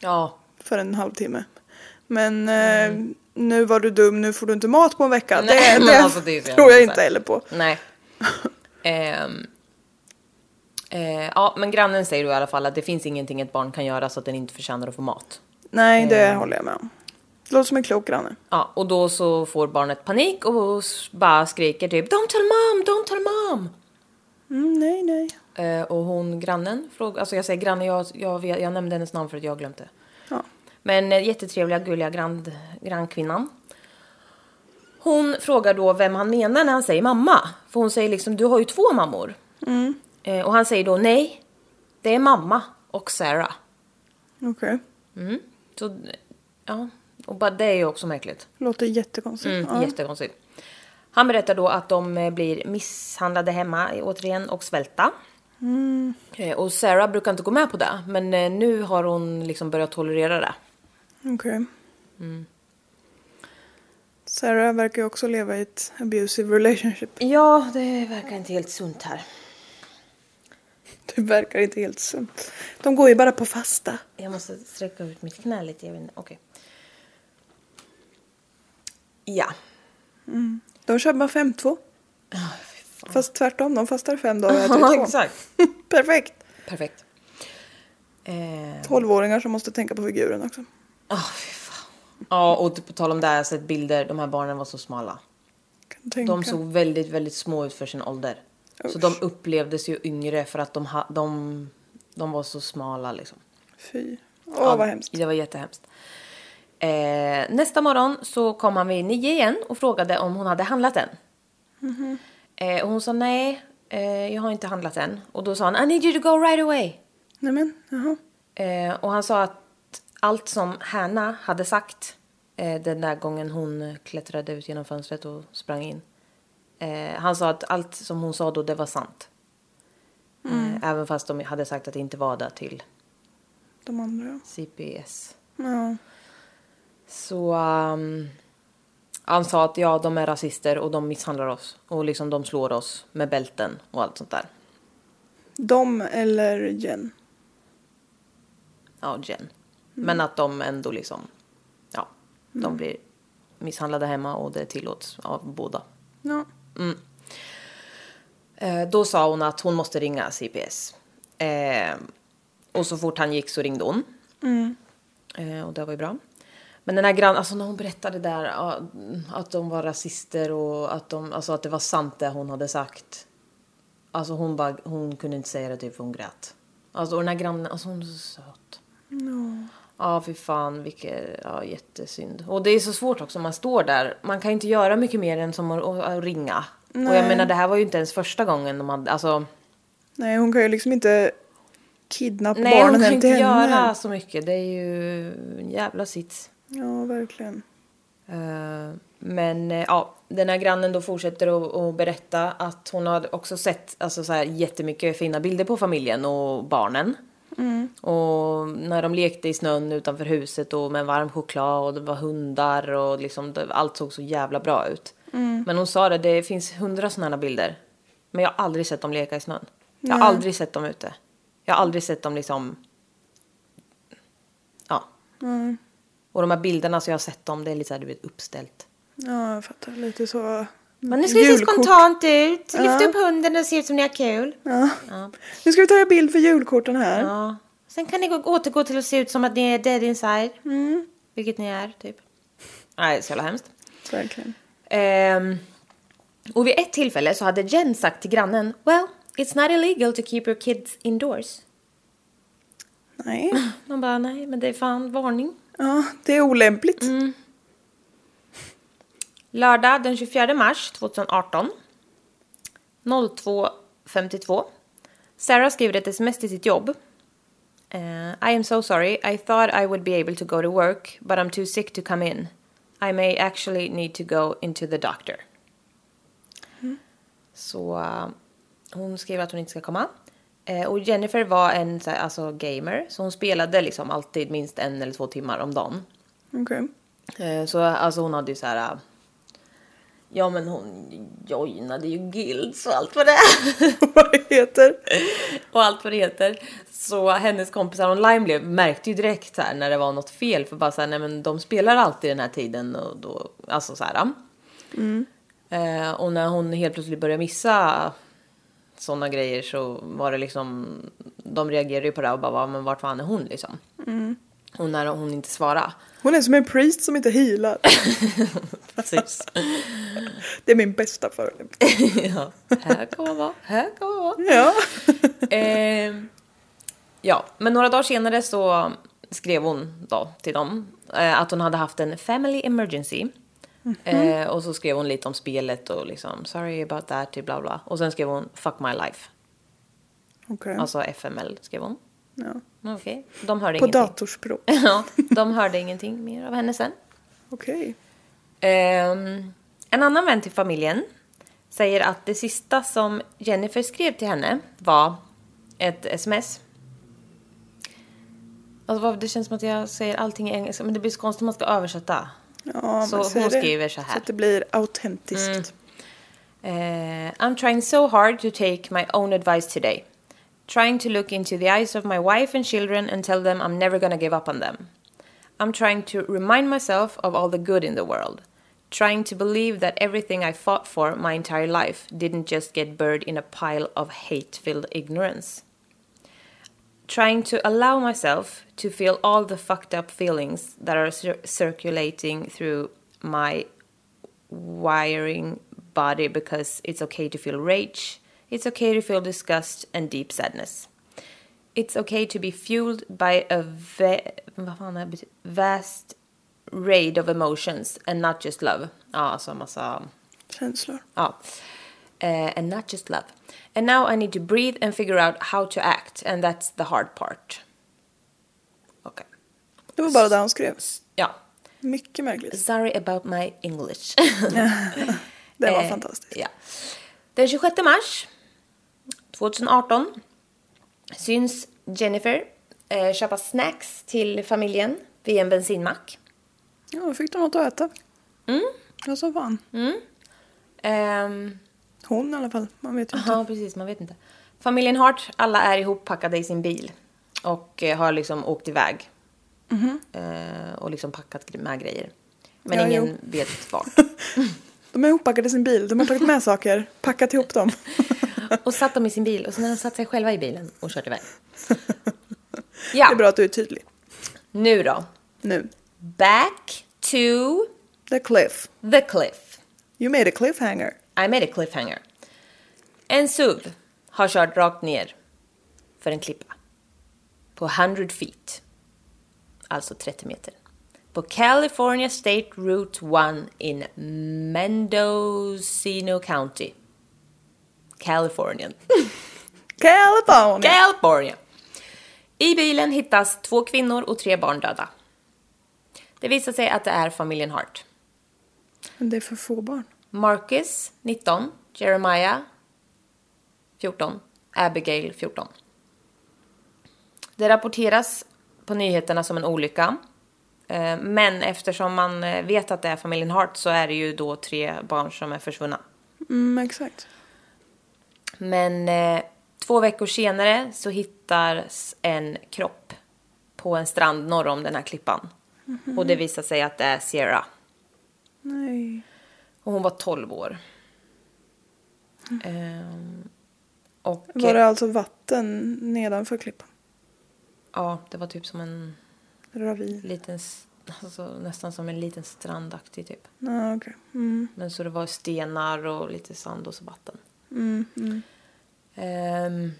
B: Ja,
A: för en halvtimme. Men eh, nu var du dum, nu får du inte mat på en vecka. det
B: Mm. men
A: det,
B: alltså, det är så jävla
A: tror jag
B: så här.
A: inte heller på.
B: Nej. Ehm. Eh, ja, men grannen säger då i alla fall att det finns ingenting ett barn kan göra så att den inte förtjänar att få mat.
A: Nej, det
B: Mm.
A: håller jag med om. Det låter som en klok granne.
B: Ja, och då så får barnet panik och s- bara skriker typ “Don't tell mom, don't tell mom!”
A: Mm, nej, nej.
B: eh, Och hon, grannen, frågar, alltså jag säger granne, jag, jag, vet, jag nämnde hennes namn för att jag har glömt det.
A: Ja.
B: Men eh, jättetrevliga, gulliga grand, grannkvinnan. Hon frågar då vem han menar när han säger mamma. För hon säger liksom, du har ju två mammor. Eh, och han säger då nej, det är mamma och Sarah.
A: Okej.
B: Så, ja, och bara, det är ju också märkligt.
A: Låter jättekonstigt.
B: Mm,
A: ja.
B: Jättekonstigt. Han berättar då att de eh, blir misshandlade hemma eh, återigen och svälta. Eh, Och Sarah brukar inte gå med på det, men eh, nu har hon liksom börjat tolerera det.
A: Okej.
B: Mm.
A: Sarah verkar ju också leva i ett abusive relationship.
B: Ja, det verkar inte helt sunt här.
A: Det verkar inte helt sunt. De går ju bara på fasta.
B: Jag måste sträcka ut mitt knä lite, jag vet inte. Okej. Ja.
A: De kör bara 5-2.
C: Ah,
A: Fast tvärtom, de fastar fem dagar och äter två.
B: exakt.
A: Perfekt.
B: Perfekt. Eh,
A: 12-åringar som måste tänka på figuren också.
B: åh, fy fan. Ja, och på tal om det, här, jag har sett bilder. De här barnen var så smala.
A: Kan tänka.
B: De såg väldigt, väldigt små ut för sin ålder. Så
A: Usch.
B: de upplevdes ju yngre för att de, ha, de, de var så smala liksom.
A: Fy. Åh, vad hemskt.
B: Det var jättehemskt. Eh, nästa morgon så kom han vid nio igen och frågade om hon hade handlat än. Eh, och hon sa nej, eh, jag har inte handlat än. Och då sa han I need you to go right away.
A: Nej men, jaha.
B: Eh, och han sa att allt som Hanna hade sagt
C: eh, den där gången hon klättrade ut genom fönstret och sprang in. Eh, han sa att allt som hon sa då, det var sant. Eh, även fast de hade sagt att det inte var det till
A: De andra.
C: CPS.
A: Ja.
C: Så ehm, han sa att ja, de är rasister och de misshandlar oss. Och liksom de slår oss med bälten och allt sånt där.
A: De eller Jen.
C: Ja, Jen. Men att de ändå liksom, ja, de blir misshandlade hemma och det tillåts av båda.
A: Ja.
C: Eh, då sa hon att hon måste ringa CPS. Eh, och så fort han gick så ringde hon. Eh, och det var ju bra. Men den här grannen, alltså när hon berättade där ja, att de var rasister och att, de, alltså att det var sant det hon hade sagt. Alltså hon, bara, hon kunde inte säga det typ för hon grät. Alltså och den här grannen, alltså hon är så söt. Ja, fy fan, vilket, ja, jättesynd. Och det är så svårt också, man står där. Man kan ju inte göra mycket mer än som att, att, att ringa. Och jag menar, det här var ju inte ens första gången de hade, alltså.
A: Nej, hon kan ju liksom inte kidnappa
C: Nej, hon
A: barnen
C: kan ju
A: hem
C: inte
A: till henne.
C: göra så mycket. Det är ju en jävla sits.
A: Ja, verkligen.
C: Eh, Men eh, ja, den här grannen då fortsätter att- att berätta att hon har också sett alltså, så här, jättemycket fina bilder på familjen och barnen. Mm. Och när de lekte i snön utanför huset och med varm choklad och det var hundar och liksom, det, allt såg så jävla bra ut. Men hon sa det, det finns hundra sådana bilder. Men jag har aldrig sett dem leka i snön. Jag har aldrig sett dem ute. Jag har aldrig sett dem liksom... Ja. Mm. Och de här bilderna, så jag har sett dem, det är lite så här, du vet, uppställt.
A: Ja, jag fattar. Lite så... mm,
C: Men nu ska vi se
A: Julkort.
C: spontant ut. Lyft upp hunden och se ut som ni har kul.
A: Ja. Nu ska vi ta en bild för julkorten här.
C: Ja. Sen kan ni gå, återgå till att se ut som att ni är dead inside. Mm. Vilket ni är, typ. Nej, så jävla hemskt.
A: Verkligen.
C: Ehm, och vid ett tillfälle så hade Jen sagt till grannen Well, it's not illegal to keep your kids indoors.
A: Nej.
C: Man bara, nej, men det är fan varning.
A: Ja, det är olämpligt.
C: Mm. Lördag den 24 mars 2018 02.52 Sarah skriver ett sms till sitt jobb. Eh, I am so sorry. I thought I would be able to go to work, but I'm too sick to come in. I may actually need to go into the doctor. Så eh, hon skrev att hon inte ska komma. Eh, och Jennifer var en så här, alltså, gamer, så hon spelade liksom alltid minst en eller två timmar om dagen.
A: Okej.
C: Eh, Så alltså hon hade ju så här. äh, Ja men hon joinade ju guilds och allt vad det är.
A: Vad det heter.
C: och allt vad det heter. Så hennes kompisar online blev, märkte ju direkt så här när det var något fel. För bara så här, nej men de spelar alltid den här tiden och då, alltså så här.
A: Mm.
C: äh. Eh, och när hon helt plötsligt började missa sådana grejer så var det liksom, de reagerade ju på det och bara, "Va, men vart fan är hon liksom?
A: Mm.
C: Och när hon inte svarade.
A: Hon är som en priest som inte healar.
C: Precis.
A: Det är min bästa förolämpning.
C: ja, här kommer man vara, här kommer man vara.
A: Ja.
C: Ehm, ja, men några dagar senare så skrev hon då till dem eh, att hon hade haft en family emergency. Eh, och så skrev hon lite om spelet och liksom sorry about that, till bla bla. Och sen skrev hon fuck my life.
A: Okej.
C: Alltså FML skrev hon. Mm,
A: Ja.
C: Okej, de hörde
A: På
C: ingenting.
A: datorspråk.
C: ja, de hörde ingenting mer av henne sen.
A: Okej.
C: Ehm, en annan vän till familjen säger att det sista som Jennifer skrev till henne var ett sms. Alltså, vad- det känns som att jag säger allting i engelska, men det blir så konstigt om man ska översätta.
A: Ja,
C: Så
A: men säg
C: hon
A: det.
C: skriver så här. Mm.
A: Så att det blir autentiskt.
C: Eh, I'm trying so hard to take my own advice today. Trying to look into the eyes of my wife and children and tell them I'm never gonna give up on them. I'm trying to remind myself of all the good in the world. Trying to believe that everything I fought for my entire life didn't just get buried in a pile of hate filled ignorance. Trying to allow myself to feel all the fucked up feelings that are cir- circulating through my wiring body because it's okay to feel rage, it's okay to feel disgust and deep sadness. It's okay to be fueled by a ve- vad fan är det? vast raid of emotions and not just love. Ja, alltså massa...
A: Känslor.
C: Ja. Eh, and not just love. And now I need to breathe and figure out how to act and that's the hard part. Okej.
A: Det var bara det hon skrev.
C: Ja.
A: Mycket märkligt.
B: Sorry about my English.
A: Det var
B: Eh,
A: fantastiskt.
B: Ja. Den 26 mars 2018 syns Jennifer eh, köpa snacks till familjen vid en bensinmack.
A: Ja, då fick de något att äta. Mm. Ja, så fan.
C: Mm.
B: Ehm,
A: Hon i alla fall. Man vet ju inte.
B: Ja, precis. Man vet inte. Familjen Hart, alla är ihoppackade i sin bil och eh, har liksom åkt iväg. Eh, och liksom packat gre- med grejer. Men
A: Ja,
B: ingen
A: jo.
B: vet vart.
A: De är ihoppackade i sin bil. De har tagit med saker, packat ihop dem.
B: Och satt dem i sin bil och sen har de satt sig själva i bilen och kört iväg.
A: Det är bra
B: Ja,
A: att du är tydlig.
B: nu då.
A: Nu.
B: Back to
A: The cliff.
B: the cliff.
A: You made a cliffhanger.
B: I made a cliffhanger. En SUV har kört rakt ner för en klippa. På 100 feet. Alltså 30 meter. På California State Route 1 in Mendocino County. Kalifornien.
A: California!
B: California! I bilen hittas två kvinnor och tre barn döda. Det visar sig att det är familjen Hart.
A: Men det är för få barn.
B: Marcus 19, Jeremiah 14, Abigail 14. Det rapporteras på nyheterna som en olycka. Eh, Men eftersom man eh, vet att det är familjen Hart så är det ju då tre barn som är försvunna.
A: Mm, exakt.
B: Men eh, två veckor senare så hittas en kropp på en strand norr om den här klippan. Och det visar sig att det är Sierra.
A: Nej.
B: Och hon var 12 år. Ehm, och...
A: Var det alltså vatten nedanför klippan?
B: Ja, det var typ som en
A: Ravin?
B: liten... s- Alltså, nästan som en liten strandaktig typ.
A: Ja, okej. Mm.
B: Men så det var stenar och lite sand och så vatten.
A: Mm, mm.
B: Ehm,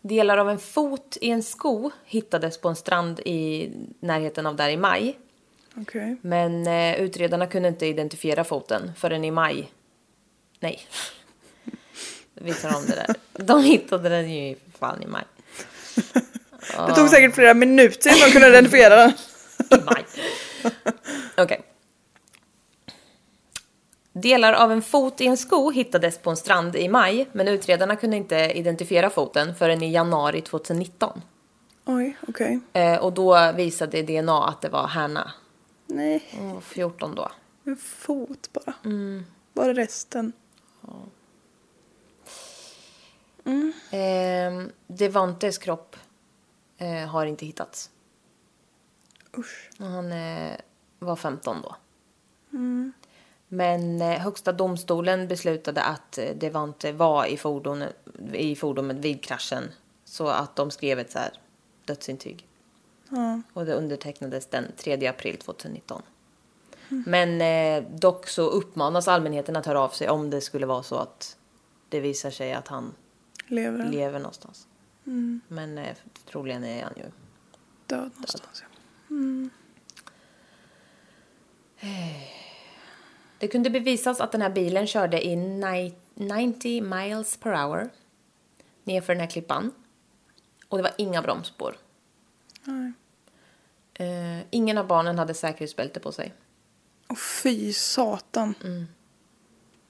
B: delar av en fot i en sko hittades på en strand i närheten av där i maj.
A: Okej.
B: Men eh, utredarna kunde inte identifiera foten förrän i maj. Nej. Vi tar om det där. De hittade den ju i- för fan i maj.
A: Det tog säkert flera minuter innan de kunde identifiera den.
B: I maj. Okej. Delar av en fot i en sko hittades på en strand i maj, men utredarna kunde inte identifiera foten förrän i januari 2019.
A: Oj, okej.
B: Eh, och då visade DNA att det var Hanna.
A: Nej, Mm.
B: Hon var 14 då.
A: en fot bara. Var är resten?
B: Eh, Devantes kropp eh, har inte hittats.
A: Usch.
B: Och Han eh, var 15 då. Men eh, Högsta domstolen beslutade att eh, Devante var i, fordon, i fordonet vid kraschen. Så att de skrev ett så här dödsintyg.
A: Ja.
B: Och det undertecknades den 3 april 2019. Men eh, dock så uppmanas allmänheten att höra av sig om det skulle vara så att det visar sig att han
A: Lever den?
B: lever någonstans. Men eh, troligen är han ju
A: Död någonstans. Ja.
B: Det kunde bevisas att den här bilen körde i ni- 90 miles per hour nerför den här klippan. Och det var inga bromsspår.
A: Nej.
B: Eh, ingen av barnen hade säkerhetsbälte på sig.
A: Och fy satan.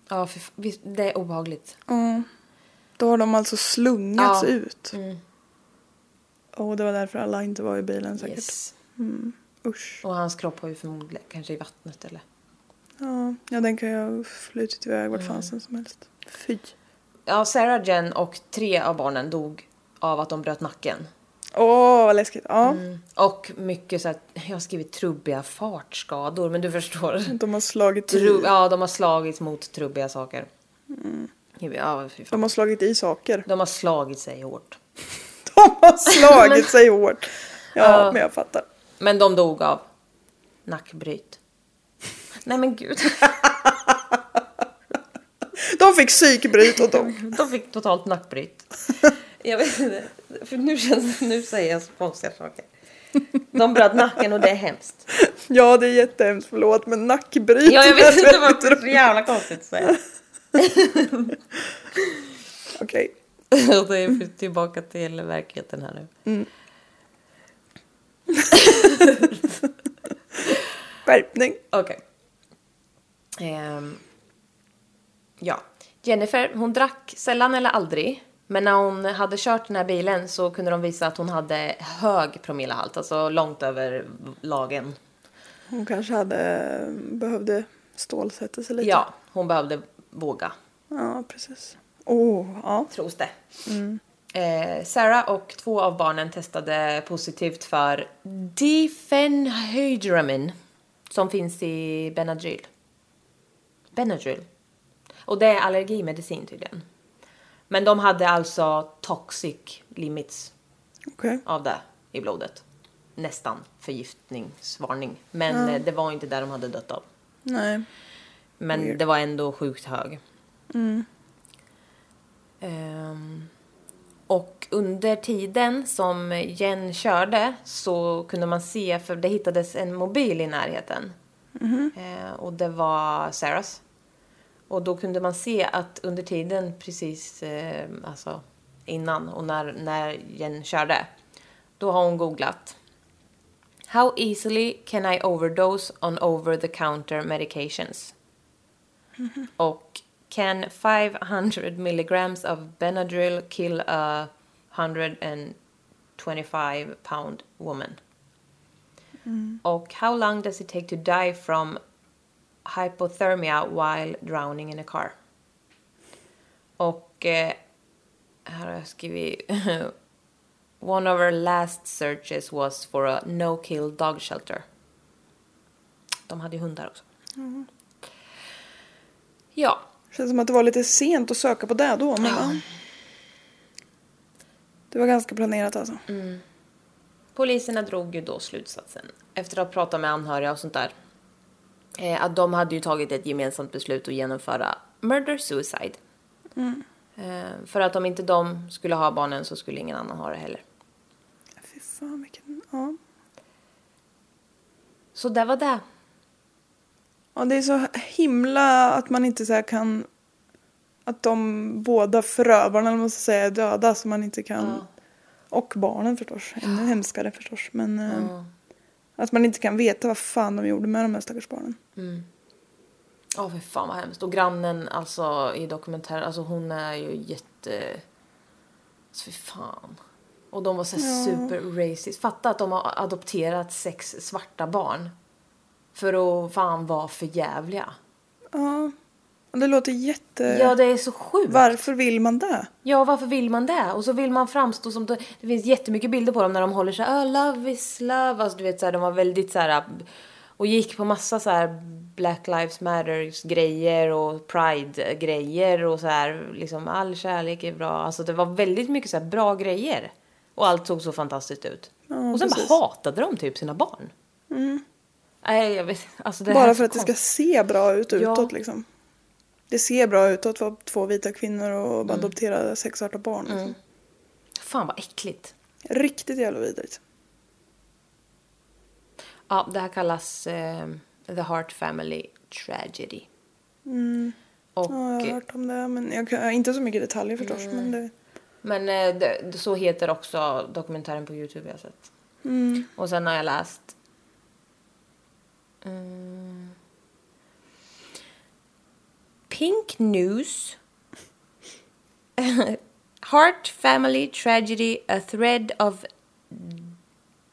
B: Ja, fy f- visst, det är obehagligt.
A: Ja. Då har de alltså slungats
B: Ja.
A: ut. Och det var därför alla inte var i bilen säkert. Mm.
B: Yes.
A: Usch.
B: Och hans kropp var ju förmodligen kanske i vattnet eller...
A: Ja. ja, den kan ju ha flutit iväg vart fasen som helst. Fy.
B: Ja, Sarah, Jen och tre av barnen dog av att de bröt nacken.
A: Åh, vad läskigt. Ja,
B: Och mycket så att jag har skrivit trubbiga fartskador, men du förstår.
A: de har slagit
B: Tru-
A: i,
B: ja, de har slagits mot trubbiga saker. Ja, fy fan.
A: de har slagit i saker.
B: De har slagit sig hårt.
A: De har slagit sig hårt. Ja, men jag fattar.
B: Men de dog av nackbryt. Nej men gud.
A: De fick psykbryt och de.
B: De fick totalt nackbryt. Jag vet inte. För nu, känns, nu säger jag så konstiga saker. De bröt nacken och det är hemskt.
A: Ja, det är jättehemskt. Förlåt, men nackbryt.
B: Ja, jag
A: är
B: vet inte
A: väldigt
B: varför det är så
A: roligt.
B: jävla konstigt att säga.
A: Okej.
B: Och då är vi tillbaka till verkligheten här nu.
A: Skärpning.
C: Okej. Ehm, ja. Jennifer, hon drack sällan eller aldrig. Men när hon hade kört den här bilen så kunde de visa att hon hade hög promillehalt, alltså långt över lagen.
A: Hon kanske hade, eh, behövde stålsätta sig lite.
C: Ja, hon behövde våga,
A: Ja, precis. Oh, ja.
C: tros det. Eh, Sarah och två av barnen testade positivt för difenhydramin som finns i Benadryl. Benadryl. Och det är allergimedicin tydligen. Men de hade alltså toxic limits
A: Okej.
C: av det i blodet. Nästan förgiftningsvarning. Men eh, det var inte där de hade dött av.
A: Nej.
C: Men det var ändå sjukt hög. Ehm, och under tiden som Jen körde så kunde man se, för det hittades en mobil i närheten. Eh, och det var Sarahs. Och då kunde man se att under tiden precis eh, alltså innan och när, när Jen körde, då har hon googlat. How easily can I overdose on over the counter medications? Och can 500 milligrams of Benadryl kill a 125 pound woman? Och how long does it take to die from hypothermia while drowning in a car? Och eh, här har jag skrivit One of our last searches was for a no-kill dog shelter. De hade ju hundar också. Ja,
A: Känns som att det var lite sent att söka på det då. Men ja. Det var ganska planerat alltså.
C: Poliserna drog ju då slutsatsen, efter att ha pratat med anhöriga och sånt där, eh, att de hade ju tagit ett gemensamt beslut att genomföra murder-suicide. Eh, För att om inte de skulle ha barnen så skulle ingen annan ha det heller.
A: Fy fan vilken... Ja.
C: Så det var det.
A: ja det är så himla att man inte så här kan... Att de båda förövarna, eller vad man ska säga, är döda så man inte kan... Och barnen förstås. Ännu hemskare förstås. Men eh, att man inte kan veta vad fan de gjorde med de här stackars barnen.
C: Ja, för fan vad hemskt. Och grannen alltså i dokumentären, alltså hon är ju jätte... Alltså fy fan. Och de var så här super racist. Fatta att de har adopterat sex svarta barn. För att fan vara för jävliga.
A: Ja. Och Det låter jätte...
C: Ja, det är så sjukt.
A: Varför vill man det?
C: Ja, varför vill man det? Och så vill man framstå som... Det finns jättemycket bilder på dem när de håller så här, "Ah, love is love. Alltså, du vet, så här, de var väldigt så här... Och gick på massa så här Black Lives Matters-grejer och Pride-grejer och så här, liksom all kärlek är bra. Alltså det var väldigt mycket så här bra grejer. Och allt såg så fantastiskt ut. och sen
A: precis. Mm.
C: bara hatade de typ sina barn. Nej, jag vet alltså det här är
A: Bara
C: så
A: för att det ska
C: konstigt.
A: se bra ut
C: Ja.
A: utåt liksom. Det ser bra ut att vara två vita kvinnor och
C: Mm.
A: adoptera sex svarta barn. Liksom.
C: Fan vad äckligt.
A: Riktigt jävla vidrigt.
C: Ja, det här kallas eh, The Heart Family Tragedy. Och,
A: Mm. Ja, jag har hört om det, men jag kan, inte så mycket detaljer förstås. Men det,
C: Men eh, det, det- så heter också dokumentären på Youtube jag har sett.
A: Mm.
C: Och sen har jag läst... Mm. Pink News. Heart Family Tragedy A Thread of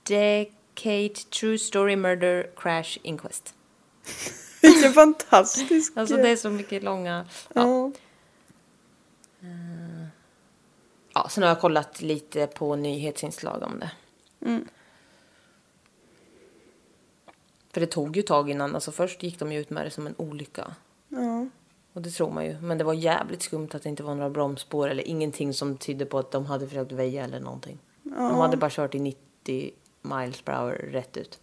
C: Decade True Story Murder Crash Inquest.
A: vilken fantastisk...
C: Alltså det är så mycket långa... Ja. Eh,
A: ja.
C: Ja, sen har jag kollat lite på nyhetsinslag om det. Mm. För det tog ju tag innan, alltså först gick de ju ut med det som en olycka.
A: ja.
C: Och det tror man ju. Men det var jävligt skumt att det inte var några bromsspår eller ingenting som tydde på att de hade försökt väja eller någonting. De hade bara kört i 90 miles per hour rätt ut.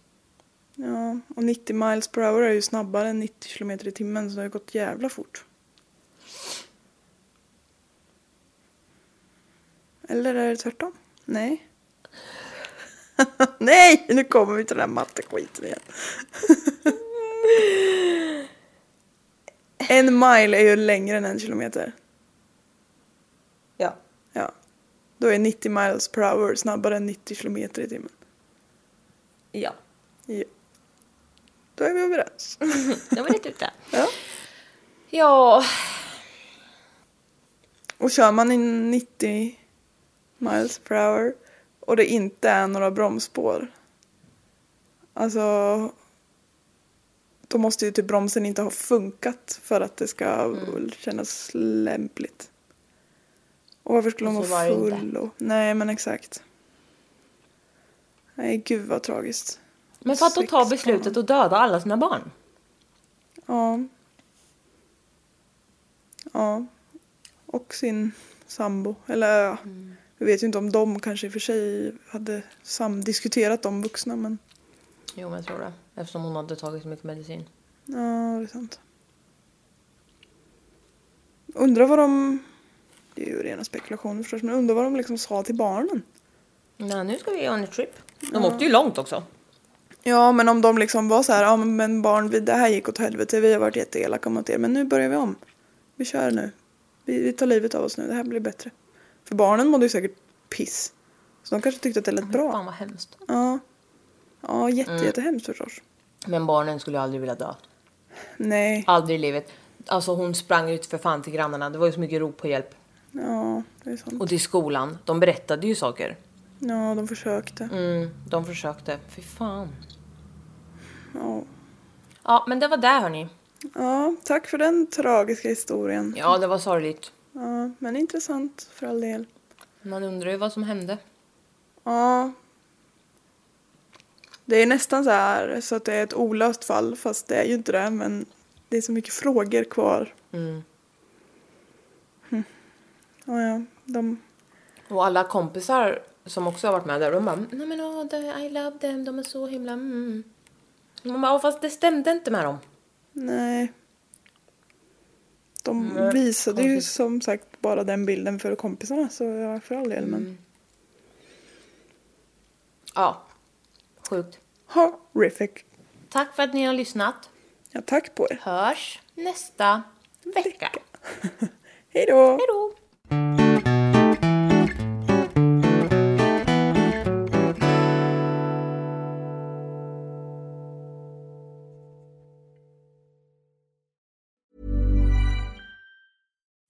A: Ja, och 90 miles per hour är ju snabbare än 90 kilometer i timmen så det har ju gått jävla fort. Eller är det tvärtom? Nej. Nej, nu kommer vi till den här matteskiten igen. en mile är ju längre än en kilometer.
C: Ja.
A: Ja. Då är 90 miles per hour snabbare än 90 kilometer i timmen.
C: Ja.
A: Ja. Då är vi överens.
C: Då var det ute.
A: Ja.
C: Ja,
A: Och kör man i 90 miles per hour och det inte är några bromsspår. Alltså. Då måste ju typ bromsen inte ha funkat för att det ska
B: Mm.
A: kännas lämpligt. Och varför skulle hon
B: Och så
A: vara
B: var det inte.
A: full? Och... Nej men exakt. Nej gud vad tragiskt.
B: Men för att då
A: Sex
B: ta beslutet och döda alla sina barn.
A: Ja. Ja. Och sin sambo. Eller ja, vi vet ju inte om de kanske i och för sig hade sam- diskuterat de vuxna men
C: jo men jag tror det. Eftersom hon hade tagit så mycket medicin.
A: ja, det är sant. Undrar vad de... Det är ju rena spekulationer förstås men undrar vad de liksom sa till barnen.
C: Nej, nu ska vi on a trip.
B: De åkte ju långt också.
A: Ja men om de liksom var så här, ja men barn vi- det här gick åt helvete, vi har varit jätteelaka mot er men nu börjar vi om. Vi kör nu. Vi, vi tar livet av oss nu, det här blir bättre. För barnen mådde ju säkert piss. Så de kanske tyckte att det lät bra.
C: Fan vad hemskt.
A: Ja. Ja jätte,
C: Mm.
A: jättehemskt förstås.
B: Men barnen skulle aldrig vilja dö.
A: Nej,
C: Aldrig i livet. Alltså hon sprang ut för fan till grannarna. Det var ju så mycket rop på hjälp.
A: ja det är sant.
C: Och till skolan. De berättade ju saker.
A: Ja de försökte.
C: Mm, de försökte. Fy fan.
A: Ja.
C: Ja, men det var det hörni.
A: ja, tack för den tragiska historien.
C: Ja, det var sorgligt.
A: Ja, men intressant för all del.
C: Man undrar ju vad som hände.
A: Ja. Det är nästan så här så att det är ett olöst fall fast det är ju inte det men det är så mycket frågor kvar. Hm. Ja, ja, de...
C: Och alla kompisar som också har varit med där, de bara Nej men åh, det- I love them, de är så himla mm. Man bara, "Åh, fast det stämde inte med dem.
A: Nej. De visade ju som sagt bara den bilden för kompisarna så ja, för all del men
C: Ja, sjukt.
A: horrific.
C: Tack för att ni har lyssnat.
A: Ja, tack på er.
C: Hörs nästa vecka.
A: Hej då!
C: Hej då!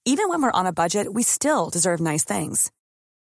G: Even when we're on a budget, we still deserve nice things.